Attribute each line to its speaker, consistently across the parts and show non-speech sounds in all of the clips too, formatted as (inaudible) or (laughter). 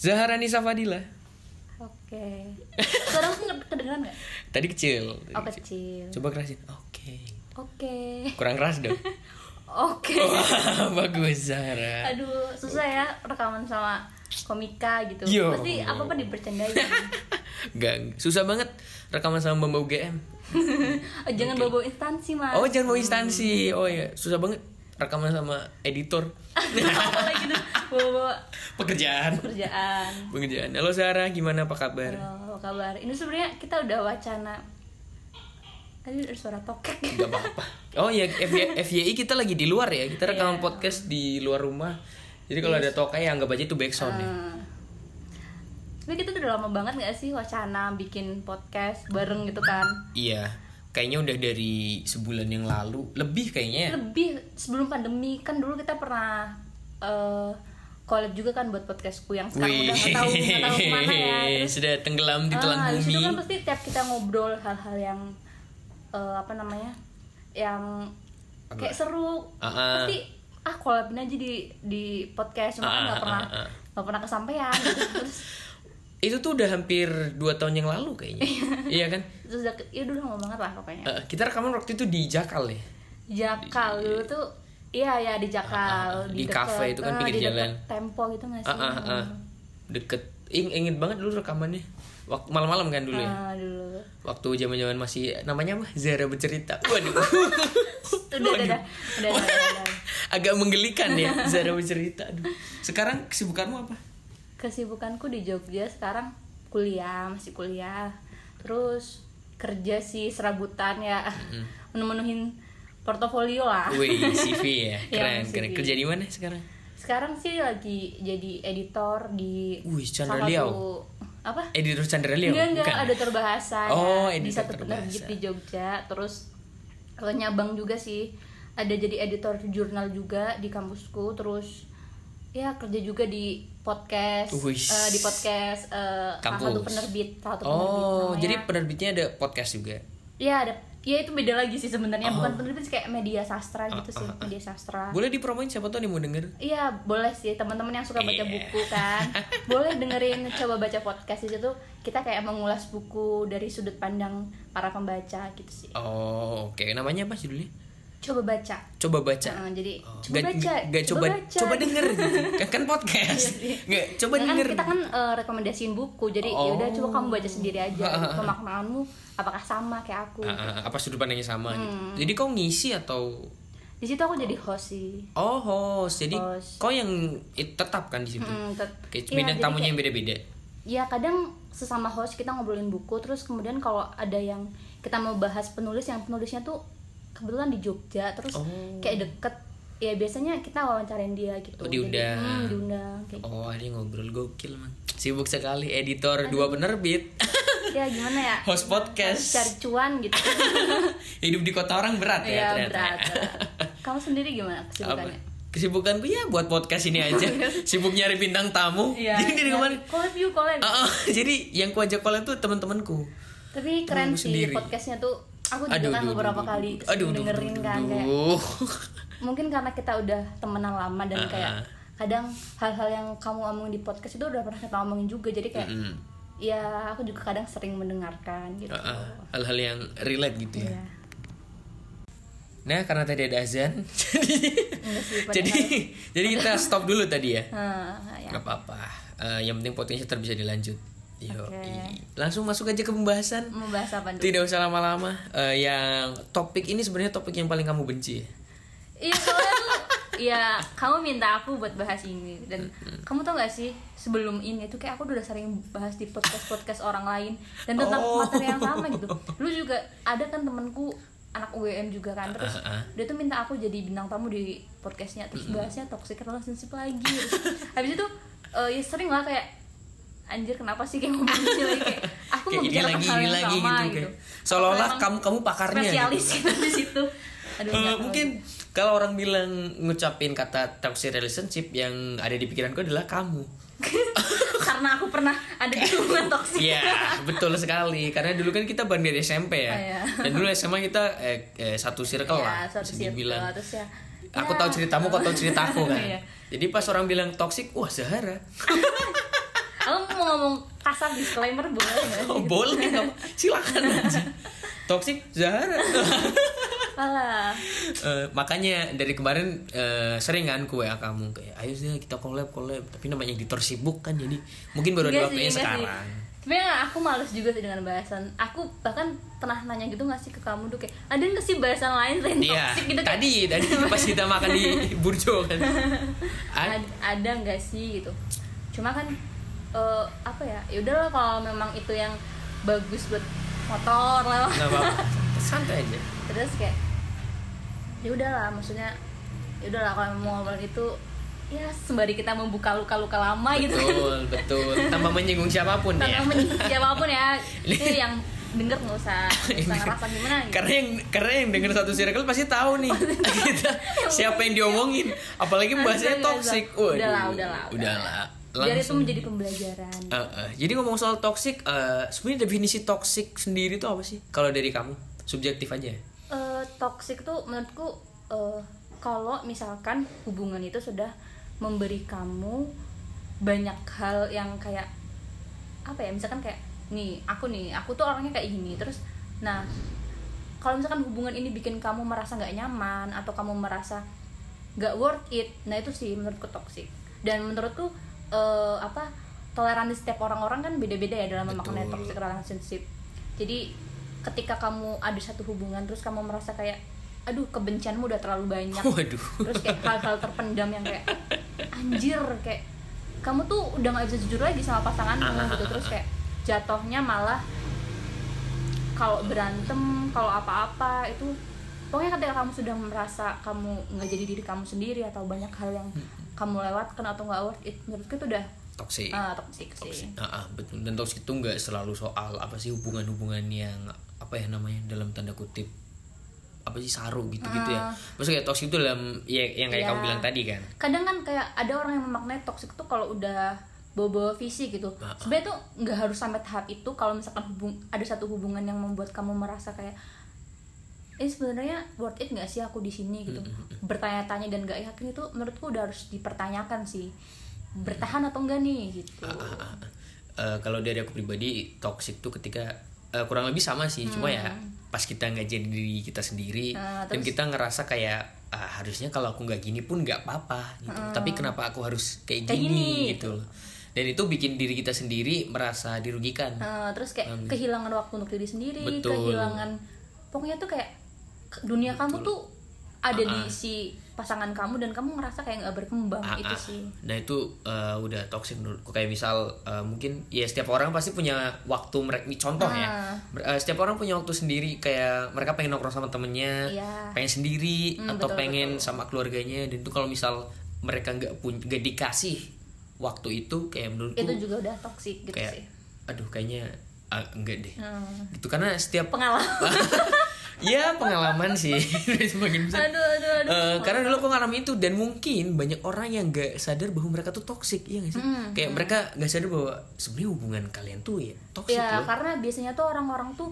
Speaker 1: Zaharani Safadila.
Speaker 2: Oke. Suara aku nggak kedengeran nggak?
Speaker 1: Tadi kecil. tadi
Speaker 2: Oh kecil.
Speaker 1: Coba kerasin. Oke.
Speaker 2: Oke.
Speaker 1: Kurang keras dong. (laughs)
Speaker 2: Oke.
Speaker 1: Oh, Wah, bagus Zahara.
Speaker 2: Aduh susah ya rekaman sama komika gitu.
Speaker 1: Yo.
Speaker 2: Pasti apa apa
Speaker 1: (laughs)
Speaker 2: dipercandain.
Speaker 1: Gak susah banget rekaman sama Bamba UGM.
Speaker 2: Oh, jangan bawa bawa instansi mas.
Speaker 1: Oh, jangan mau instansi. Oh ya, susah banget rekaman sama editor.
Speaker 2: (laughs) Apa lagi tuh bawa bawa
Speaker 1: Pekerjaan. (laughs)
Speaker 2: kerjaan.
Speaker 1: Pekerjaan. Halo Zahara, gimana apa kabar?
Speaker 2: Halo, apa kabar? Ini sebenarnya kita udah wacana. Tadi ada suara tokek.
Speaker 1: Gak apa-apa. Oh ya, FY FYI kita lagi di luar ya. Kita rekaman
Speaker 2: Iya.
Speaker 1: podcast di luar rumah. Jadi kalau ada tokai anggap aja itu backsound
Speaker 2: (laughs)
Speaker 1: ya.
Speaker 2: Hmm. Tapi kita tuh udah lama banget gak sih wacana bikin podcast bareng gitu kan?
Speaker 1: Iya, kayaknya udah dari sebulan yang lalu, lebih kayaknya. ya.
Speaker 2: lebih sebelum pandemi kan dulu kita pernah eh collab juga kan buat podcastku yang sekarang udah nggak tahu nggak
Speaker 1: (laughs)
Speaker 2: tahu kemana ya terus
Speaker 1: sudah tenggelam di telan
Speaker 2: ah, habis
Speaker 1: bumi.
Speaker 2: itu kan pasti tiap kita ngobrol hal-hal yang eh, apa namanya yang kayak seru
Speaker 1: Ah, ah.
Speaker 2: pasti ah collabin aja di di podcast cuma kan
Speaker 1: Ah,
Speaker 2: nggak
Speaker 1: ah,
Speaker 2: pernah
Speaker 1: ah, ah.
Speaker 2: nggak pernah kesampaian gitu. (laughs) terus
Speaker 1: Itu tuh udah hampir dua tahun yang lalu kayaknya. iya kan?
Speaker 2: terus udah ke- ya udah lama banget lah pokoknya
Speaker 1: Eh, kita rekaman waktu itu di Jakal
Speaker 2: Iya,
Speaker 1: ya.
Speaker 2: Jakal dulu tuh iya ya di Jakal
Speaker 1: Ah, ah, di kafe
Speaker 2: deket-
Speaker 1: itu kan
Speaker 2: ah,
Speaker 1: pinggir
Speaker 2: di deket
Speaker 1: jalan.
Speaker 2: Tempo gitu nggak
Speaker 1: Ah,
Speaker 2: sih
Speaker 1: ah, ah. Deket. Ing inget banget dulu rekamannya. Waktu malam-malam kan dulu ya.
Speaker 2: Ah, dulu.
Speaker 1: Waktu zaman-zaman masih namanya apa? Zara bercerita. Waduh.
Speaker 2: Udah, udah, udah, udah, udah, udah, udah.
Speaker 1: Agak menggelikan ya Zara bercerita. Aduh. Sekarang kesibukanmu apa?
Speaker 2: Kesibukanku di Jogja sekarang kuliah, masih kuliah. Terus kerja sih serabutan ya, (laughs) menemenuhin portofolio lah.
Speaker 1: Wih, CV ya. Keren,
Speaker 2: Iya, CV.
Speaker 1: keren. Kerja di mana sekarang?
Speaker 2: (laughs) Sekarang sih lagi jadi editor di
Speaker 1: Wih, Chandra
Speaker 2: salah
Speaker 1: Liau.
Speaker 2: satu- apa?
Speaker 1: Editor Eh, Chandra Leo?
Speaker 2: Enggak, enggak,
Speaker 1: Bukan.
Speaker 2: ada terbahasa
Speaker 1: Oh,
Speaker 2: ya, di
Speaker 1: editor
Speaker 2: satu
Speaker 1: terbahasa.
Speaker 2: penerbit di Jogja. Terus kalau nyabang juga sih ada jadi editor jurnal juga di kampusku. Terus ya kerja juga di podcast,
Speaker 1: Wis.
Speaker 2: eh, di podcast eh, salah
Speaker 1: Kampus.
Speaker 2: satu penerbit, salah satu
Speaker 1: Oh,
Speaker 2: penerbit namanya.
Speaker 1: jadi penerbitnya ada podcast juga.
Speaker 2: ya ada, ya itu beda lagi sih sebenarnya
Speaker 1: Oh.
Speaker 2: bukan penerbit sih, kayak media sastra gitu
Speaker 1: Ah,
Speaker 2: sih, media sastra.
Speaker 1: Boleh dipromoin siapa tuh nih mau denger?
Speaker 2: Iya boleh sih teman-teman yang suka baca
Speaker 1: Iya.
Speaker 2: buku
Speaker 1: (laughs)
Speaker 2: kan boleh dengerin coba baca podcast di situ kita kayak mengulas buku dari sudut pandang para pembaca gitu sih
Speaker 1: Oh, oke. Namanya apa judulnya?
Speaker 2: coba baca
Speaker 1: Coba baca.
Speaker 2: Nah, jadi
Speaker 1: Oh,
Speaker 2: coba
Speaker 1: nggak-
Speaker 2: baca
Speaker 1: nggak coba,
Speaker 2: baca.
Speaker 1: coba
Speaker 2: (laughs)
Speaker 1: denger. kan, kan podcast. Nggak, coba
Speaker 2: Ya kan,
Speaker 1: denger.
Speaker 2: kita kan eh, rekomendasiin buku jadi
Speaker 1: Oh.
Speaker 2: yaudah coba kamu baca sendiri
Speaker 1: (laughs)
Speaker 2: aja pemaknaanmu apakah sama kayak aku
Speaker 1: Ah, ah, apa sudut pandangnya sama gitu.
Speaker 2: Hmm.
Speaker 1: Jadi kau ngisi atau
Speaker 2: di situ aku jadi host sih
Speaker 1: oh host. Jadi
Speaker 2: Host.
Speaker 1: kau yang i- tetap kan di situ.
Speaker 2: Hmm, tet-
Speaker 1: Kayak
Speaker 2: Iya,
Speaker 1: bidang
Speaker 2: jadi
Speaker 1: tamunya
Speaker 2: kayak-
Speaker 1: yang beda-beda.
Speaker 2: ya kadang sesama host kita ngobrolin buku terus kemudian kalau ada yang kita mau bahas penulis yang penulisnya tuh kebetulan di Jogja terus
Speaker 1: Oh.
Speaker 2: kayak deket ya biasanya kita wawancarain dia gitu
Speaker 1: Oh,
Speaker 2: Jadi,
Speaker 1: diundang.
Speaker 2: hmm, diundang kayak gitu.
Speaker 1: Oh, ada yang ngobrol gokil, Mang. Sibuk sekali editor dua penerbit. (laughs)
Speaker 2: ya gimana ya
Speaker 1: Host podcast.
Speaker 2: Harus cari cuan
Speaker 1: (laughs)
Speaker 2: gitu
Speaker 1: Hidup di kota orang berat ya,
Speaker 2: ya
Speaker 1: ternyata.
Speaker 2: berat berat. kamu sendiri gimana
Speaker 1: apa
Speaker 2: kesibukannya Iya.
Speaker 1: kesibukanku ya buat podcast ini
Speaker 2: (laughs)
Speaker 1: aja sibuk nyari bintang tamu Iya. jadi dari kemarin
Speaker 2: collab yuk collab
Speaker 1: Ah, (laughs) ah, jadi yang ku ajak collab tuh teman-temanku
Speaker 2: tapi keren
Speaker 1: Temanku
Speaker 2: sih
Speaker 1: sendiri.
Speaker 2: podcastnya tuh aku juga kan beberapa kali
Speaker 1: aduh, aduh, aduh,
Speaker 2: dengerin
Speaker 1: aduh,
Speaker 2: kan kayak
Speaker 1: aduh. (laughs)
Speaker 2: mungkin karena kita udah temenan lama dan
Speaker 1: Ah.
Speaker 2: kayak kadang hal-hal yang kamu omongin di podcast itu udah pernah kita omongin juga jadi kayak
Speaker 1: Mm.
Speaker 2: ya aku juga kadang sering mendengarkan gitu
Speaker 1: Ah, ah, hal-hal yang relate gitu ya
Speaker 2: Iya.
Speaker 1: nah karena tadi ada azan (laughs) jadi
Speaker 2: Enggak sih,
Speaker 1: (laughs)
Speaker 2: padahal-
Speaker 1: jadi jadi kita stop dulu tadi ya
Speaker 2: Nah, ya.
Speaker 1: nggak apa-apa Eh, yang penting potensi terbisa dilanjut Yo,
Speaker 2: Oke. Mm,
Speaker 1: i- langsung masuk aja ke pembahasan
Speaker 2: mau bahas apa dulu
Speaker 1: tidak usah lama-lama Eh, yang topik ini sebenarnya topik yang paling kamu benci ya?
Speaker 2: iya soalnya tuh ya kamu minta aku buat bahas ini dan kamu tau gak sih sebelum ini tuh kayak aku udah sering bahas di podcast podcast orang lain dan tentang
Speaker 1: Oh.
Speaker 2: materi yang sama gitu lu juga ada kan temenku anak UGM juga kan terus
Speaker 1: Uh-uh.
Speaker 2: dia tuh minta aku jadi bintang tamu di podcastnya terus bahasnya toxic relationship lagi Terus habis itu eh, ya sering lah kayak anjir kenapa sih kayak ngomong ini lagi kayak aku
Speaker 1: kayak ini
Speaker 2: membicarakan
Speaker 1: lagi
Speaker 2: hal
Speaker 1: ini
Speaker 2: yang
Speaker 1: lagi
Speaker 2: sama
Speaker 1: gitu,
Speaker 2: gitu,
Speaker 1: kayak seolah-olah
Speaker 2: Aku emang
Speaker 1: kamu kamu pakarnya gitu.
Speaker 2: spesialis (laughs) gitu di situ aduh
Speaker 1: Eh,
Speaker 2: nggak tahu.
Speaker 1: mungkin kalau orang bilang ngucapin kata toxic relationship yang ada di pikiranku adalah kamu
Speaker 2: karena karena aku pernah ada di hubungan toksik
Speaker 1: Iya, (laughs) betul sekali. Karena dulu kan kita bandar SMP ya.
Speaker 2: Ah, iya.
Speaker 1: Dan dulu SMA kita eh, eh, satu circle
Speaker 2: Iya,
Speaker 1: lah,
Speaker 2: satu
Speaker 1: bisa
Speaker 2: circle.
Speaker 1: dibilang.
Speaker 2: terus ya
Speaker 1: Aku
Speaker 2: ya.
Speaker 1: tahu ceritamu, kau tahu ceritaku kan.
Speaker 2: (laughs) Iya.
Speaker 1: Jadi pas orang bilang toksik, wah Zahara.
Speaker 2: aku mau ngomong kasar disclaimer boleh nggak
Speaker 1: Oh,
Speaker 2: sih?
Speaker 1: boleh nggak?
Speaker 2: (laughs)
Speaker 1: Silakan aja. Toksik Zahara.
Speaker 2: Alah.
Speaker 1: Eh, makanya dari kemarin eh, sering kan kue kamu kayak ayo Zah, kita collab collab tapi namanya editor sibuk kan jadi mungkin baru ada
Speaker 2: Enggak
Speaker 1: waktunya
Speaker 2: enggak Iya sih. (laughs)
Speaker 1: sekarang
Speaker 2: Sebenarnya aku males juga sih dengan bahasan. Aku bahkan pernah nanya gitu nggak sih ke kamu tuh kayak ada nggak sih bahasan lain selain
Speaker 1: iya
Speaker 2: toxic gitu kayak,
Speaker 1: tadi tadi pas kita makan di burjo
Speaker 2: (laughs)
Speaker 1: kan Ah,
Speaker 2: "Ad- ada nggak sih gitu. Cuma kan eh, apa ya? Ya udahlah kalau memang itu yang bagus buat motor lah.
Speaker 1: nggak apa-apa santai aja
Speaker 2: Terus kayak ya udahlah maksudnya ya udahlah kalau mau ngobrol itu ya sembari kita membuka luka-luka lama gitu kan.
Speaker 1: betul betul tanpa menyinggung siapapun ya
Speaker 2: (laughs) tanpa menyinggung siapapun
Speaker 1: (laughs)
Speaker 2: ya itu yang denger nggak usah nggak usah ngerasa gimana gitu
Speaker 1: Iya. karena yang karena yang dengar satu circle pasti tahu nih (laughs) kita siapa yang diomongin apalagi bahasanya
Speaker 2: Enggak, enggak,
Speaker 1: toxic
Speaker 2: enggak.
Speaker 1: Waduh,
Speaker 2: Udahlah, udahlah,
Speaker 1: udahlah
Speaker 2: biar itu
Speaker 1: langsung
Speaker 2: menjadi pembelajaran
Speaker 1: Eh, eh, jadi ngomong soal toxic eh, sebenarnya definisi toxic sendiri itu apa sih kalau dari kamu subjektif aja ya?
Speaker 2: Eh, toxic tuh menurutku eh, kalau misalkan hubungan itu sudah memberi kamu banyak hal yang kayak apa ya misalkan kayak nih aku nih aku tuh orangnya kayak gini terus nah kalau misalkan hubungan ini bikin kamu merasa nggak nyaman atau kamu merasa nggak worth it nah itu sih menurutku toxic dan menurutku eh, apa toleransi setiap orang-orang kan beda-beda ya dalam memaknai
Speaker 1: Betul.
Speaker 2: toxic relationship jadi ketika kamu ada satu hubungan terus kamu merasa kayak aduh kebencianmu udah terlalu banyak
Speaker 1: (laughs) waduh
Speaker 2: terus kayak hal-hal terpendam yang kayak anjir kayak kamu tuh udah nggak bisa jujur lagi sama pasanganmu gitu terus kayak jatuhnya malah kalau berantem kalau apa-apa itu pokoknya ketika kamu sudah merasa kamu nggak jadi diri kamu sendiri atau banyak hal yang kamu lewatkan atau nggak worth it menurutku itu udah
Speaker 1: toxic
Speaker 2: ah, toxic sih
Speaker 1: Ah, ah, betul dan toxic itu nggak selalu soal apa sih hubungan-hubungan yang apa ya namanya dalam tanda kutip apa sih saru gitu-gitu ya maksudnya kayak toxic itu dalam ya, yang kayak
Speaker 2: Ah. Ya.
Speaker 1: kamu bilang tadi kan
Speaker 2: kadang kan kayak ada orang yang memaknai toxic tuh kalau udah bobo visi gitu
Speaker 1: Ah,
Speaker 2: sebenarnya tuh nggak harus sampai tahap itu kalau misalkan hubung ada satu hubungan yang membuat kamu merasa kayak eh sebenarnya worth it nggak sih aku di sini gitu
Speaker 1: Hmm,
Speaker 2: bertanya-tanya dan nggak yakin itu menurutku udah harus dipertanyakan sih bertahan atau enggak nih gitu
Speaker 1: Ah, ah. Eh, kalau dari aku pribadi toxic tuh ketika eh, kurang lebih sama sih cuma ya pas kita nggak jadi diri kita sendiri
Speaker 2: Ah,
Speaker 1: dan kita ngerasa kayak ah, harusnya kalau aku nggak gini pun nggak apa-apa gitu tapi kenapa aku harus kayak,
Speaker 2: Kayak
Speaker 1: gini,
Speaker 2: gini,
Speaker 1: gitu loh dan itu bikin diri kita sendiri merasa dirugikan
Speaker 2: Nah, terus kayak kehilangan waktu untuk diri sendiri
Speaker 1: Betul.
Speaker 2: kehilangan pokoknya tuh kayak ke- dunia kamu tuh
Speaker 1: Ah,
Speaker 2: ada di si pasangan kamu dan kamu ngerasa kayak nggak berkembang
Speaker 1: Ah,
Speaker 2: itu
Speaker 1: ah.
Speaker 2: Oh, gitu sih
Speaker 1: Nah itu eh, udah toxic menurutku kayak misal eh, mungkin ya setiap orang pasti punya waktu mereka contoh ya.
Speaker 2: Ah.
Speaker 1: Ber- eh, setiap orang punya waktu sendiri kayak mereka pengen nongkrong sama temennya,
Speaker 2: Iya.
Speaker 1: pengen sendiri
Speaker 2: Hmm,
Speaker 1: atau
Speaker 2: betul,
Speaker 1: pengen sama keluarganya dan itu kalau misal mereka nggak pun nggak dikasih waktu itu kayak menurutku
Speaker 2: itu juga udah toksik gitu
Speaker 1: kayak
Speaker 2: sih
Speaker 1: aduh kayaknya ah, enggak deh.
Speaker 2: Hmm.
Speaker 1: Gitu karena
Speaker 2: (laughs)
Speaker 1: setiap (laughs)
Speaker 2: pengalaman
Speaker 1: ya pengalaman
Speaker 2: (laughs)
Speaker 1: sih semakin besar.
Speaker 2: aduh aduh aduh
Speaker 1: Eh, karena dulu aku ngalamin itu dan mungkin banyak orang yang gak sadar bahwa mereka tuh toxic iya gak sih
Speaker 2: Hmm,
Speaker 1: kayak mereka gak sadar bahwa sebenarnya hubungan kalian tuh ya toxic loh
Speaker 2: ya karena biasanya tuh orang-orang tuh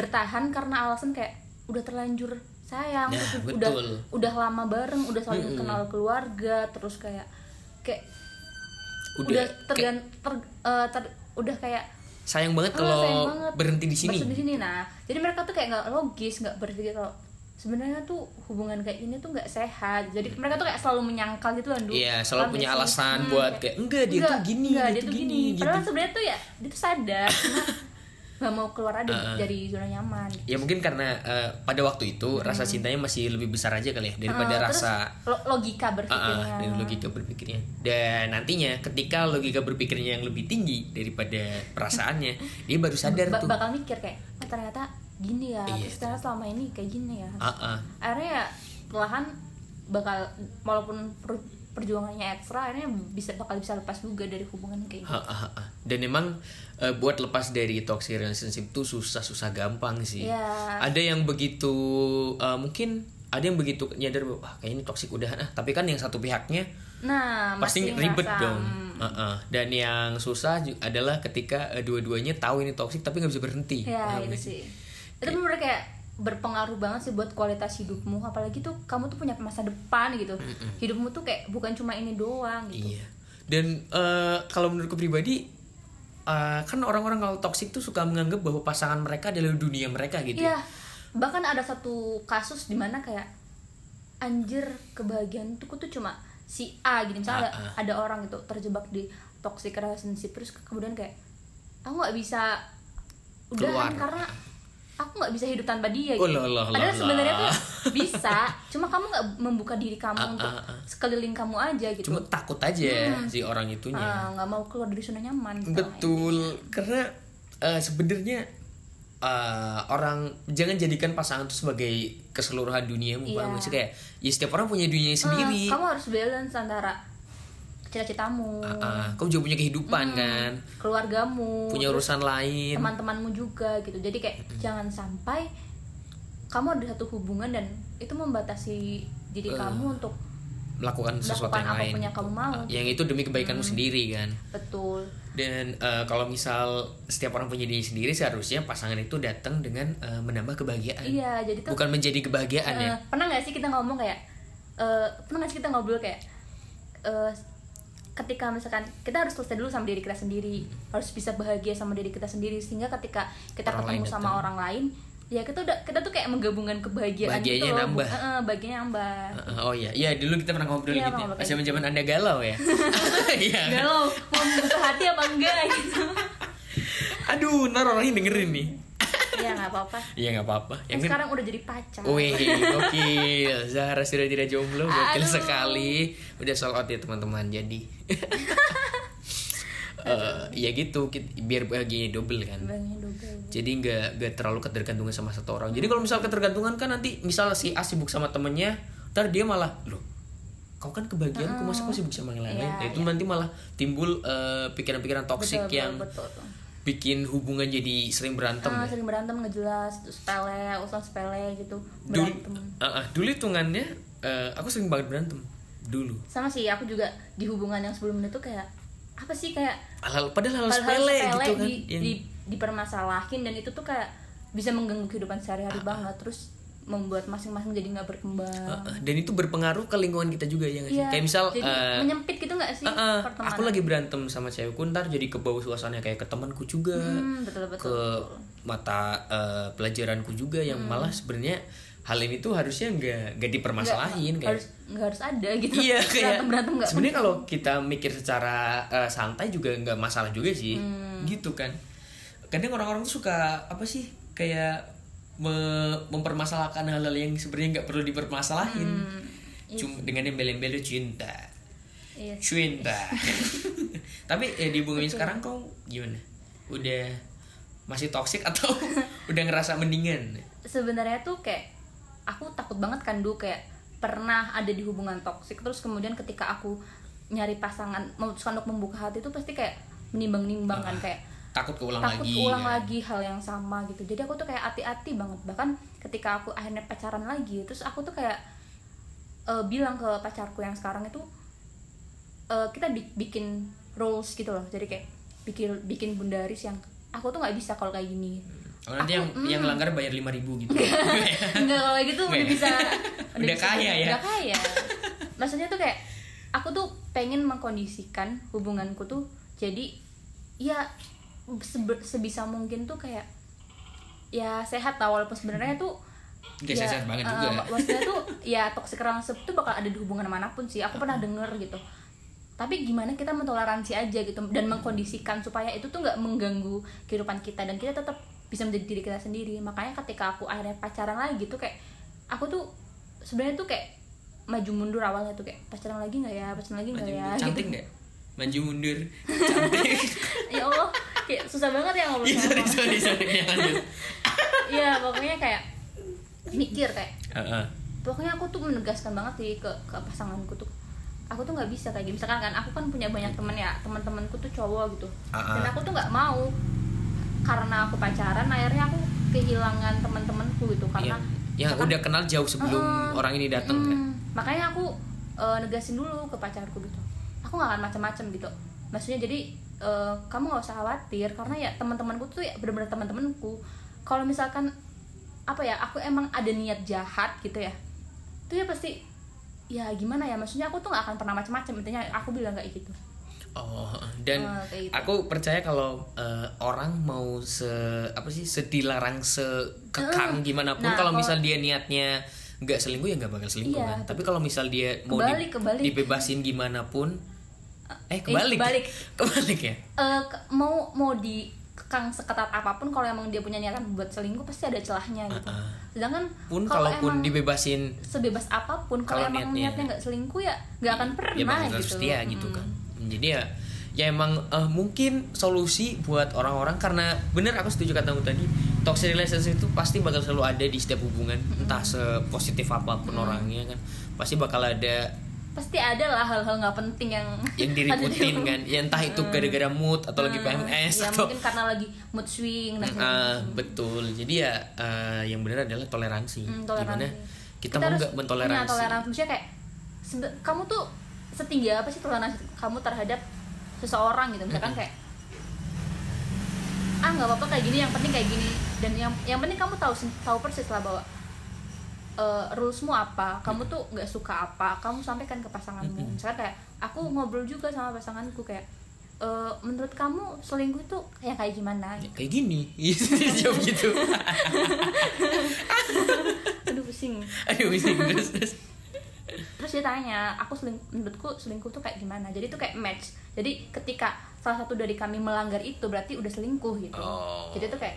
Speaker 2: bertahan karena alasan kayak udah terlanjur sayang
Speaker 1: Nah,
Speaker 2: terus
Speaker 1: betul.
Speaker 2: udah udah lama bareng udah saling kenal keluarga terus kayak kayak
Speaker 1: udah,
Speaker 2: udah
Speaker 1: kayak
Speaker 2: tergan ter- eh, ter- udah kayak
Speaker 1: sayang banget
Speaker 2: Ah,
Speaker 1: kalau
Speaker 2: sayang banget.
Speaker 1: berhenti di sini
Speaker 2: Maksud di sini nah jadi mereka tuh kayak nggak logis nggak berpikir kalau sebenarnya tuh hubungan kayak ini tuh nggak sehat jadi mereka tuh kayak selalu menyangkal gitu kan Du.
Speaker 1: Iya, selalu
Speaker 2: Paham
Speaker 1: punya
Speaker 2: gak sih? Hmm,
Speaker 1: alasan buat kayak, "Enggak, dia tuh gini,
Speaker 2: enggak,
Speaker 1: dia
Speaker 2: dia
Speaker 1: tuh
Speaker 2: tuh gini,
Speaker 1: gini,"
Speaker 2: padahal
Speaker 1: gitu.
Speaker 2: sebenarnya tuh ya dia tuh sadar
Speaker 1: (laughs)
Speaker 2: cuma nggak mau keluar ada dari zona nyaman gitu.
Speaker 1: ya mungkin karena eh, pada waktu itu rasa cintanya masih lebih besar aja kali ya daripada
Speaker 2: Eh, Hmm. terus
Speaker 1: rasa
Speaker 2: lo- logika
Speaker 1: Ah,
Speaker 2: berpikirnya
Speaker 1: ah, dari logika berpikirnya dan nantinya ketika logika berpikirnya yang lebih tinggi daripada perasaannya dia baru sadar
Speaker 2: Ba-
Speaker 1: tuh
Speaker 2: bakal mikir kayak oh, ternyata gini ya
Speaker 1: Iya.
Speaker 2: terus ternyata selama ini kayak gini ya
Speaker 1: Ah, ah.
Speaker 2: akhirnya ya perlahan bakal walaupun per- perjuangannya ekstra akhirnya bisa bakal bisa lepas juga dari hubungan kayak gitu.
Speaker 1: Ha, ha, ha. Dan emang eh, buat lepas dari toxic relationship tuh susah-susah gampang sih.
Speaker 2: Iya.
Speaker 1: Ada yang begitu eh, mungkin ada ah." yang begitu nyadar bahwa "Wah, kayaknya ini toxic udahan ah, tapi kan yang satu pihaknya
Speaker 2: nah
Speaker 1: pasti
Speaker 2: masih
Speaker 1: ribet
Speaker 2: ngerasa,
Speaker 1: dong
Speaker 2: hmm,
Speaker 1: Heeh. dan yang susah ju- adalah ketika eh, dua-duanya tahu ini toksik tapi nggak bisa berhenti
Speaker 2: ya
Speaker 1: Paham
Speaker 2: itu
Speaker 1: nggak
Speaker 2: sih itu bener kayak berpengaruh banget sih buat kualitas hidupmu apalagi tuh kamu tuh punya masa depan gitu hidupmu tuh kayak bukan cuma ini doang gitu
Speaker 1: Iya. Dan eh, kalau menurutku pribadi eh, kan orang-orang kalau toksik tuh suka menganggap bahwa pasangan mereka adalah dunia mereka gitu.
Speaker 2: Iya, bahkan ada satu kasus dimana kayak anjir kebahagiaan tuh tuh cuma si A gitu misalnya
Speaker 1: Ah,
Speaker 2: ada- ada orang itu terjebak di toxic relationship terus ke- kemudian kayak aku nggak bisa
Speaker 1: Keluar.
Speaker 2: udahan karena aku nggak bisa hidup tanpa dia gitu.
Speaker 1: Oh, lah, lah, lah,
Speaker 2: Padahal
Speaker 1: lah.
Speaker 2: sebenarnya tuh bisa, cuma kamu nggak membuka diri kamu
Speaker 1: Ah,
Speaker 2: untuk
Speaker 1: ah,
Speaker 2: sekeliling kamu aja gitu.
Speaker 1: Cuma takut aja si orang itunya.
Speaker 2: Hmm. Ah, nggak mau keluar dari zona nyaman. gitu.
Speaker 1: Betul. Karena eh, sebenarnya eh, orang jangan jadikan pasangan itu sebagai keseluruhan duniamu,
Speaker 2: Iya.
Speaker 1: paham nggak sih? kayak ya setiap orang punya dunianya
Speaker 2: Ah,
Speaker 1: sendiri.
Speaker 2: kamu harus balance antara cita-citamu,
Speaker 1: Ah, ah. kamu juga punya kehidupan
Speaker 2: Hmm.
Speaker 1: kan,
Speaker 2: keluargamu,
Speaker 1: punya Hmm. urusan lain.
Speaker 2: teman-temanmu juga gitu. Jadi kayak jangan sampai kamu ada satu hubungan dan itu membatasi diri
Speaker 1: Eh.
Speaker 2: kamu untuk
Speaker 1: melakukan sesuatu
Speaker 2: Melakukan
Speaker 1: yang lain
Speaker 2: apapun yang kamu mau. Hmm.
Speaker 1: Ah, yang itu demi kebaikanmu sendiri kan
Speaker 2: betul.
Speaker 1: dan eh, kalau misal setiap orang punya diri sendiri seharusnya pasangan itu datang dengan eh, menambah kebahagiaan
Speaker 2: Iya, jadi tuh
Speaker 1: bukan menjadi kebahagiaan
Speaker 2: eh,
Speaker 1: ya
Speaker 2: pernah nggak sih kita ngomong kayak eh, pernah nggak sih kita ngobrol kayak eh, ketika misalkan kita harus selesai dulu sama diri kita sendiri, harus bisa bahagia sama diri kita sendiri sehingga ketika kita
Speaker 1: Orang
Speaker 2: ketemu
Speaker 1: lain
Speaker 2: sama
Speaker 1: datang.
Speaker 2: orang lain ya kita udah kita tuh kayak menggabungkan kebahagiaan
Speaker 1: Bahagianya
Speaker 2: gitu loh.
Speaker 1: nambah.
Speaker 2: Eh, eh, bahagianya nambah.
Speaker 1: Eh, oh iya iya dulu kita pernah ngobrol
Speaker 2: Iya,
Speaker 1: gitu ya.
Speaker 2: ngobrol
Speaker 1: pas
Speaker 2: kayak
Speaker 1: zaman zaman anda galau
Speaker 2: (laughs)
Speaker 1: ya iya
Speaker 2: Galau, mau membuka hati apa enggak gitu.
Speaker 1: aduh ntar orang ini dengerin nih
Speaker 2: ya nggak apa-apa.
Speaker 1: iya nggak apa-apa yang Oh,
Speaker 2: Yang
Speaker 1: iya. penting-
Speaker 2: sekarang udah jadi pacar.
Speaker 1: Wih, gokil. Zahra sudah tidak jomblo, gokil
Speaker 2: Aduh.
Speaker 1: sekali. Udah sold out ya teman-teman.
Speaker 2: (laughs)
Speaker 1: Jadi, eh, ya gitu. kit- Biar bahagianya double kan.
Speaker 2: Bangnya double.
Speaker 1: Jadi nggak nggak terlalu ketergantungan sama satu orang. Jadi kalau misal ketergantungan kan nanti misal si A sibuk sama temennya, ntar dia malah loh kau kan kebahagiaan, kau masa kau sibuk sama yang lain?
Speaker 2: Iya,
Speaker 1: Nah, itu nanti malah timbul eh, pikiran-pikiran toksik
Speaker 2: Betul,
Speaker 1: yang
Speaker 2: betul, betul.
Speaker 1: bikin hubungan jadi sering berantem.
Speaker 2: Ah,
Speaker 1: ya.
Speaker 2: sering berantem ngejelas terus sepele, urusan sepele gitu.
Speaker 1: dulu
Speaker 2: Berantem.
Speaker 1: Ah, ah, dulu hitungannya eh, aku sering banget berantem dulu
Speaker 2: Sama sih, aku juga di hubungan yang sebelumnya tuh kayak apa sih kayak
Speaker 1: Hal-hal- padahal hal
Speaker 2: hal-hal
Speaker 1: sepele gitu kan
Speaker 2: di,
Speaker 1: yang-
Speaker 2: di- dipermasalahin dan itu tuh kayak bisa mengganggu kehidupan sehari-hari banget terus membuat masing-masing jadi nggak
Speaker 1: Ah,
Speaker 2: berkembang.
Speaker 1: ah, dan itu berpengaruh ke lingkungan kita juga ya nggak sih?
Speaker 2: Iya,
Speaker 1: kayak misal
Speaker 2: jadi
Speaker 1: eh,
Speaker 2: menyempit gitu nggak sih
Speaker 1: ah, ah,
Speaker 2: pertemanan?
Speaker 1: aku lagi berantem sama cewekku ntar jadi ke bawah suasana kayak ke temanku juga
Speaker 2: Hmm, betul betul. Hmm.
Speaker 1: ke mata eh, pelajaranku juga yang malah sebenarnya hal ini tuh harusnya nggak nggak dipermasalahin kayak
Speaker 2: harus
Speaker 1: (laughs)
Speaker 2: nggak harus ada gitu.
Speaker 1: iya kayak
Speaker 2: berantem berantem nggak
Speaker 1: sebenarnya kalau kita mikir secara eh, santai juga nggak masalah juga sih
Speaker 2: Hmm.
Speaker 1: gitu kan kadang orang-orang tuh suka apa sih kayak me- mempermasalahkan hal-hal yang sebenarnya nggak perlu dipermasalahin
Speaker 2: Hmm,
Speaker 1: cuma dengan embel-embel cinta
Speaker 2: Iya. (laughs)
Speaker 1: cinta tapi ya di hubungan sekarang kau gimana udah masih toksik atau (laughs) udah ngerasa mendingan
Speaker 2: sebenarnya tuh kayak aku takut banget kan dulu kayak pernah ada di hubungan toksik terus kemudian ketika aku nyari pasangan memutuskan untuk membuka hati tuh pasti kayak menimbang-nimbang
Speaker 1: Ah.
Speaker 2: kan kayak
Speaker 1: takut keulang
Speaker 2: takut
Speaker 1: lagi
Speaker 2: ulang
Speaker 1: kan?
Speaker 2: lagi hal yang sama gitu jadi aku tuh kayak hati-hati banget bahkan ketika aku akhirnya pacaran lagi terus aku tuh kayak eh, bilang ke pacarku yang sekarang itu eh, kita bi- bikin rules gitu loh jadi kayak bikin bikin bundaris yang aku tuh nggak bisa kalau kayak gini
Speaker 1: Oh, nanti yang yang
Speaker 2: hmm.
Speaker 1: langgar bayar 5000
Speaker 2: (laughs)
Speaker 1: gitu
Speaker 2: Enggak kalau gitu
Speaker 1: Weh.
Speaker 2: udah bisa
Speaker 1: Iya. (laughs) Udah
Speaker 2: bisa-
Speaker 1: kaya ya?
Speaker 2: Udah kaya. Maksudnya tuh kayak aku tuh pengen mengkondisikan hubunganku tuh jadi ya sebe- sebisa mungkin tuh kayak ya sehat lah walaupun sebenarnya tuh
Speaker 1: Nggak sehat banget
Speaker 2: eh,
Speaker 1: juga.
Speaker 2: maksudnya tuh ya toxic relationship tuh bakal ada di hubungan manapun sih
Speaker 1: Ah.
Speaker 2: aku pernah denger gitu tapi gimana kita mentoleransi aja gitu
Speaker 1: Hmm.
Speaker 2: dan mengkondisikan supaya itu tuh nggak mengganggu kehidupan kita dan kita tetap bisa menjadi diri kita sendiri makanya ketika aku akhirnya pacaran lagi tuh kayak aku tuh sebenarnya tuh kayak maju mundur awalnya tuh kayak pacaran lagi nggak ya pacaran lagi nggak
Speaker 1: Maju
Speaker 2: ya
Speaker 1: mundur.
Speaker 2: gitu.
Speaker 1: cantik nggak maju mundur cantik
Speaker 2: ya allah kayak susah
Speaker 1: (laughs)
Speaker 2: banget ya ngobrol
Speaker 1: Ih, Iya, sorry
Speaker 2: sama orang.
Speaker 1: sorry sorry Ya, lanjut
Speaker 2: Iya, pokoknya kayak mikir kayak
Speaker 1: Heeh.
Speaker 2: pokoknya aku tuh menegaskan banget sih ke, ke pasanganku tuh aku tuh nggak bisa kayak gini misalkan kan aku kan punya banyak temen ya teman-temanku tuh cowok gitu
Speaker 1: Iya. Ah, ah.
Speaker 2: dan aku tuh nggak mau karena aku pacaran akhirnya aku kehilangan
Speaker 1: Iya.
Speaker 2: teman-temanku gitu karena
Speaker 1: yang yang
Speaker 2: misalkan-
Speaker 1: udah kenal Ya, jauh sebelum
Speaker 2: Heeh.
Speaker 1: orang ini datang kan
Speaker 2: Mm, Hmm, makanya aku eh, negasin dulu ke pacarku gitu aku nggak akan macam-macam gitu maksudnya jadi eh, kamu nggak usah khawatir karena ya teman-temanku tuh ya bener-bener teman-temanku kalau misalkan apa ya aku emang ada niat jahat gitu ya itu ya pasti ya gimana ya maksudnya aku tuh nggak akan pernah macam-macam intinya aku bilang kayak gitu
Speaker 1: Oh, dan
Speaker 2: Oh, kayak gitu.
Speaker 1: aku percaya kalau eh, orang mau se apa sih sedilarang sekekang gimana pun
Speaker 2: Nah,
Speaker 1: kalau
Speaker 2: kalau-
Speaker 1: misal dia niatnya nggak selingkuh ya nggak bakal selingkuh
Speaker 2: Iya,
Speaker 1: kan. Tapi kalau misal dia mau
Speaker 2: Kebalik, kebalik.
Speaker 1: dibebasin gimana pun eh kebalik.
Speaker 2: kebalik.
Speaker 1: (laughs) Kebalik ya.
Speaker 2: Eh, ke- mau mau dikekang seketat apapun kalau emang dia punya niatan buat selingkuh pasti ada celahnya gitu
Speaker 1: Uh-uh.
Speaker 2: sedangkan
Speaker 1: Pun
Speaker 2: kalau
Speaker 1: kalaupun
Speaker 2: emang
Speaker 1: dibebasin
Speaker 2: sebebas apapun kalau
Speaker 1: kalau
Speaker 2: emang
Speaker 1: niatnya-
Speaker 2: niatnya nggak selingkuh ya nggak akan pernah
Speaker 1: ya bakal terus
Speaker 2: gitu
Speaker 1: setia gitu kan jadi ya ya emang eh, mungkin solusi buat orang-orang karena bener aku setuju kata kamu tadi toxic relationship itu pasti bakal selalu ada di setiap hubungan
Speaker 2: Hmm.
Speaker 1: entah sepositif apapun orangnya kan pasti bakal ada
Speaker 2: pasti ada lah hal-hal nggak penting yang
Speaker 1: yang
Speaker 2: (laughs) ada di-
Speaker 1: diributin kan ya entah itu gara-gara mood atau lagi PMS
Speaker 2: ya
Speaker 1: atau
Speaker 2: mungkin karena lagi mood swing nah,
Speaker 1: Ah, betul jadi ya eh, yang bener adalah toleransi,
Speaker 2: Hmm,
Speaker 1: gimana
Speaker 2: toleransi.
Speaker 1: kita, mau
Speaker 2: harus
Speaker 1: nggak
Speaker 2: punya
Speaker 1: mentoleransi
Speaker 2: toleransi maksudnya kayak sebe- kamu tuh setinggi apa sih toleransi kamu terhadap seseorang gitu misalkan kayak ah nggak apa-apa kayak gini yang penting kayak gini dan yang yang penting kamu tahu sen- tahu persis lah bahwa eh, rulesmu apa kamu tuh nggak suka apa kamu sampaikan ke pasanganmu misalkan kayak aku ngobrol juga sama pasanganku kayak "Eh, menurut kamu selingkuh itu yang kayak gimana
Speaker 1: (laughs) Ya,
Speaker 2: Gitu.
Speaker 1: kayak gini jawab gitu
Speaker 2: aduh pusing
Speaker 1: aduh bising terus terus
Speaker 2: terus dia tanya aku seling, menurutku selingkuh tuh kayak gimana jadi itu kayak match jadi ketika salah satu dari kami melanggar itu berarti udah selingkuh gitu
Speaker 1: Oh.
Speaker 2: jadi itu kayak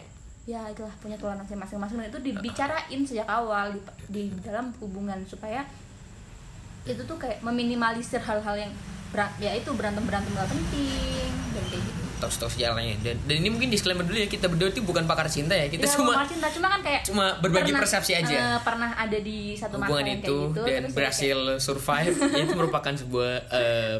Speaker 2: ya itulah punya toleransi masing-masing dan itu dibicarain sejak awal di, di dalam hubungan supaya itu tuh kayak meminimalisir hal-hal yang berat ya itu berantem berantem gak penting dan kayak gitu
Speaker 1: tos tos jalannya dan, dan ini mungkin disclaimer dulu ya kita berdua itu bukan pakar cinta ya kita
Speaker 2: Ya,
Speaker 1: cuma
Speaker 2: bukan cinta cuma kan kayak
Speaker 1: cuma berbagi persepsi aja.
Speaker 2: eh, pernah ada di satu masa
Speaker 1: hubungan
Speaker 2: yang
Speaker 1: itu
Speaker 2: kayak gitu
Speaker 1: dan
Speaker 2: terus jadi
Speaker 1: berhasil
Speaker 2: (laughs)
Speaker 1: survive itu merupakan sebuah eh,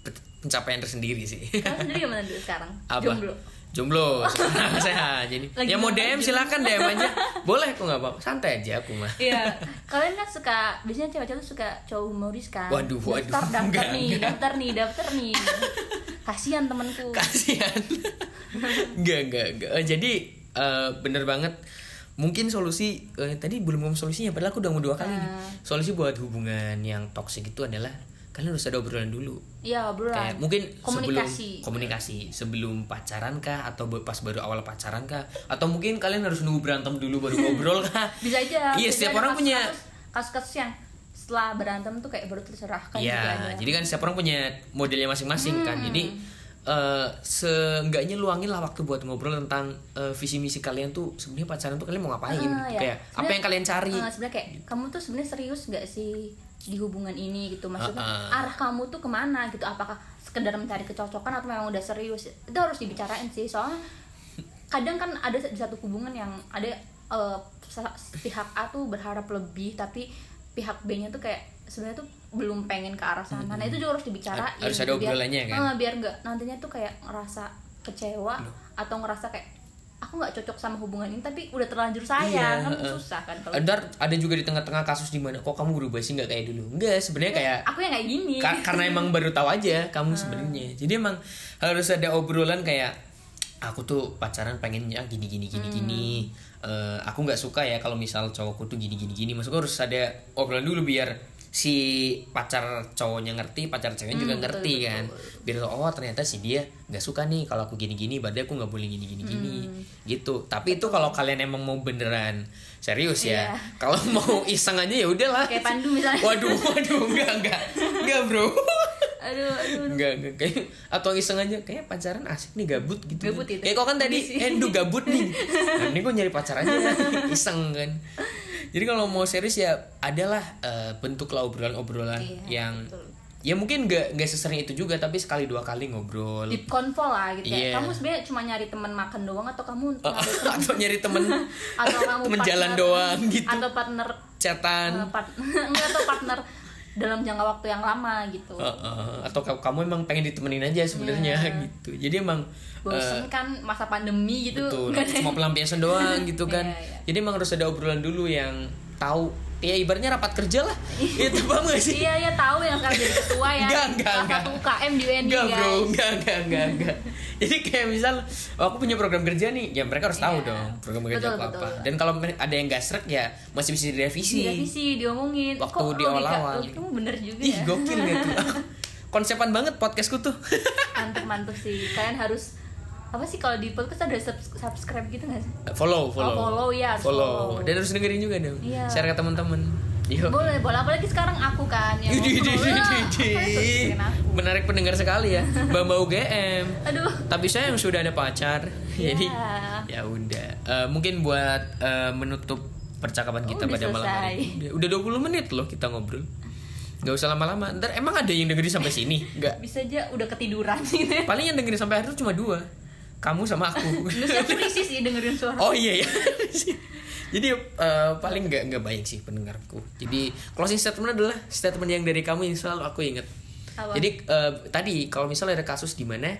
Speaker 1: pe- pencapaian tersendiri sih (laughs)
Speaker 2: kayak, kamu sendiri gimana dulu sekarang
Speaker 1: apa
Speaker 2: jomblo
Speaker 1: jomblo (laughs) sekarang sehat jadi
Speaker 2: Lagi
Speaker 1: yang mau DM
Speaker 2: ngapain jomblo?
Speaker 1: silakan DM aja boleh aku nggak apa-apa santai aja aku mah
Speaker 2: Iya. (laughs) Kalian kan suka biasanya cewek-cewek tuh suka cowok humoris kan.
Speaker 1: Waduh, waduh.
Speaker 2: Daftar, daftar
Speaker 1: Enggak,
Speaker 2: nih,
Speaker 1: enggak.
Speaker 2: daftar nih, daftar
Speaker 1: (laughs)
Speaker 2: nih. Kasihan temanku.
Speaker 1: kasihan nggak nggak nggak Eh, jadi eh, bener banget mungkin solusi eh, tadi belum ngomong solusinya padahal aku udah mau dua kali nih.
Speaker 2: Ah.
Speaker 1: solusi buat hubungan yang toksik itu adalah kalian harus ada obrolan dulu
Speaker 2: Iya, obrolan.
Speaker 1: kayak mungkin
Speaker 2: komunikasi.
Speaker 1: sebelum komunikasi sebelum pacaran kah atau be- pas baru awal pacaran kah atau mungkin kalian harus nunggu berantem dulu baru ngobrol kah
Speaker 2: Bisa
Speaker 1: iya
Speaker 2: aja. bisa
Speaker 1: setiap
Speaker 2: aja
Speaker 1: orang punya
Speaker 2: kasus-kasus- Kasus-kasus yang setelah berantem tuh kayak baru tercerahkan gitu juga ada. Hmm.
Speaker 1: Iya, jadi kan setiap orang punya modelnya masing-masing kan. Jadi eh seenggaknya luangin lah waktu buat ngobrol tentang eh, visi misi kalian tuh sebenarnya pacaran tuh kalian mau ngapain? gitu.
Speaker 2: Ah, ya.
Speaker 1: Kayak apa
Speaker 2: Sebenarnya-
Speaker 1: yang kalian cari?
Speaker 2: Eh, sebenarnya kayak kamu tuh sebenarnya serius gak sih di hubungan ini gitu maksudnya
Speaker 1: Ah,
Speaker 2: arah kamu tuh kemana gitu apakah sekedar mencari kecocokan atau memang udah serius itu harus dibicarain sih soalnya kadang kan ada di satu hubungan yang ada eh, sa- pihak A tuh berharap lebih tapi pihak B-nya tuh kayak sebenarnya tuh belum pengen ke arah sana nah itu juga harus dibicarain
Speaker 1: Hmm. Harus ada
Speaker 2: gitu, biar-
Speaker 1: obrolannya, kan?
Speaker 2: Eh, biar nggak nantinya tuh kayak ngerasa kecewa atau ngerasa kayak aku nggak cocok sama hubungan ini tapi udah terlanjur sayang kan
Speaker 1: Iya, heeh.
Speaker 2: susah kan kalau
Speaker 1: Ada ada juga di tengah-tengah kasus di mana kok kamu berubah sih nggak kayak dulu? Enggak, sebenarnya kayak
Speaker 2: aku yang kayak gini
Speaker 1: Ka- karena emang baru tahu aja kamu sebenarnya jadi emang harus ada obrolan kayak aku tuh pacaran pengennya gini gini gini gini Eh, aku nggak suka ya kalau misal cowokku tuh gini gini gini maksudku harus ada obrolan dulu biar si pacar cowoknya ngerti pacar ceweknya juga ngerti kan biar tau, oh ternyata si dia nggak suka nih kalau aku gini gini berarti aku nggak boleh gini gini gini gitu tapi itu kalau kalian emang mau beneran serius ya
Speaker 2: Iya.
Speaker 1: kalau mau iseng aja ya udahlah
Speaker 2: (laughs) kayak
Speaker 1: (laughs)
Speaker 2: Pandu misalnya
Speaker 1: Waduh, waduh, enggak, enggak, enggak bro,
Speaker 2: aduh aduh
Speaker 1: enggak, enggak, kayak atau iseng aja, kayak pacaran asik nih gabut gitu.
Speaker 2: Gabut gitu.
Speaker 1: Kayak kau kan tadi
Speaker 2: Ambisi.
Speaker 1: endu gabut
Speaker 2: (laughs)
Speaker 1: nih, nah, ini kok nyari pacar aja, iseng kan. Jadi kalau mau serius ya adalah eh, bentuklah obrolan-obrolan
Speaker 2: Iya,
Speaker 1: yang
Speaker 2: betul.
Speaker 1: ya mungkin enggak enggak sesering itu juga tapi sekali dua kali ngobrol.
Speaker 2: deep convo lah gitu
Speaker 1: Iya.
Speaker 2: ya kamu sebenarnya cuma nyari teman makan doang atau kamu untuk ada teman-
Speaker 1: Eh, (laughs) atau nyari
Speaker 2: (laughs)
Speaker 1: temen
Speaker 2: atau kamu
Speaker 1: (laughs) temen jalan
Speaker 2: partner-
Speaker 1: doang gitu Kan.
Speaker 2: atau partner
Speaker 1: chatan
Speaker 2: eh, part- (laughs) enggak atau partner dalam jangka waktu yang lama
Speaker 1: Oh,
Speaker 2: gitu
Speaker 1: Heeh, Eh, atau ka- kamu emang pengen ditemenin aja sebenarnya gitu jadi emang eh,
Speaker 2: Iya. bosen kan masa pandemi gitu
Speaker 1: betul
Speaker 2: Nggak ada-
Speaker 1: cuma pelampiasan doang gitu kan
Speaker 2: (laughs) Iya, iya.
Speaker 1: jadi emang harus ada obrolan dulu yang tahu ya ibaratnya rapat kerja lah itu paham gak sih
Speaker 2: (laughs) iya ya tahu yang sekarang jadi ketua ya
Speaker 1: Enggak, enggak,
Speaker 2: salah
Speaker 1: enggak.
Speaker 2: satu UKM di UND
Speaker 1: Enggak
Speaker 2: guys
Speaker 1: bro, enggak, enggak, enggak,
Speaker 2: (laughs)
Speaker 1: enggak. Jadi kayak misal oh, aku punya program kerja nih, ya mereka harus tahu
Speaker 2: Iya.
Speaker 1: dong program kerja
Speaker 2: Betul,
Speaker 1: aku apa.
Speaker 2: betul.
Speaker 1: Dan kalau mer- ada yang gak srek ya masih bisa direvisi.
Speaker 2: Direvisi, diomongin
Speaker 1: Waktu
Speaker 2: Kok
Speaker 1: di
Speaker 2: logika-
Speaker 1: awal-awal. gitu.
Speaker 2: logika kamu bener juga
Speaker 1: Ih
Speaker 2: ya
Speaker 1: gokil gitu.
Speaker 2: (laughs)
Speaker 1: Konsepan banget podcastku tuh. (laughs)
Speaker 2: mantep mantep sih kalian harus apa sih kalau di podcast ada subs- subscribe gitu nggak sih
Speaker 1: follow, follow.
Speaker 2: follow, ya, harus
Speaker 1: Follow.
Speaker 2: follow.
Speaker 1: Dan harus dengerin juga dong.
Speaker 2: Iya.
Speaker 1: Share ke teman-teman. Yo.
Speaker 2: boleh boleh apalagi sekarang aku kan yang
Speaker 1: Idi, idi, idi,
Speaker 2: ngomong,
Speaker 1: idi, idi.
Speaker 2: "Wah, aku yang aku."
Speaker 1: Menarik pendengar sekali
Speaker 2: (laughs)
Speaker 1: ya. Bamba UGM.
Speaker 2: aduh
Speaker 1: tapi saya yang sudah ada pacar
Speaker 2: Ya.
Speaker 1: jadi ya udah Eh, mungkin buat eh, menutup percakapan kita
Speaker 2: Oh, Udah
Speaker 1: pada malam hari
Speaker 2: selesai.
Speaker 1: ini. udah, udah 20 menit loh kita ngobrol nggak usah lama-lama ntar emang ada yang dengerin sampai sini nggak
Speaker 2: bisa aja udah ketiduran gitu ya
Speaker 1: paling yang dengerin sampai akhir tuh cuma dua kamu sama
Speaker 2: (laughs)
Speaker 1: aku
Speaker 2: Terus aku risih sih dengerin suara
Speaker 1: oh iya (laughs) ya jadi eh, paling nggak nggak baik sih pendengarku jadi closing statement adalah statement yang dari kamu yang selalu aku ingat
Speaker 2: Apa?
Speaker 1: jadi eh, tadi kalau misalnya ada kasus di mana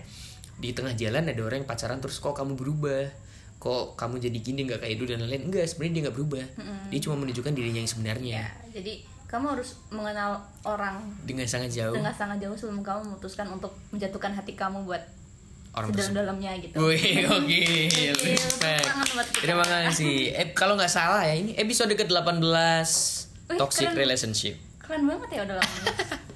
Speaker 1: di tengah jalan ada orang yang pacaran terus kok kamu berubah kok kamu jadi gini nggak kayak dulu dan lain-lain enggak sebenarnya dia nggak berubah dia cuma menunjukkan dirinya yang sebenarnya
Speaker 2: Ya, jadi kamu harus mengenal orang
Speaker 1: dengan sangat jauh
Speaker 2: dengan sangat jauh sebelum kamu memutuskan untuk menjatuhkan hati kamu buat
Speaker 1: orang tersebut
Speaker 2: sedalam-dalamnya gitu (laughs)
Speaker 1: Wih, oke.
Speaker 2: Tepuk tangan buat kita.
Speaker 1: Terima kasih. Eh, kalau nggak salah ya ini episode ke-18
Speaker 2: Wih,
Speaker 1: Toxic
Speaker 2: keren.
Speaker 1: Relationship.
Speaker 2: keren banget ya udah lama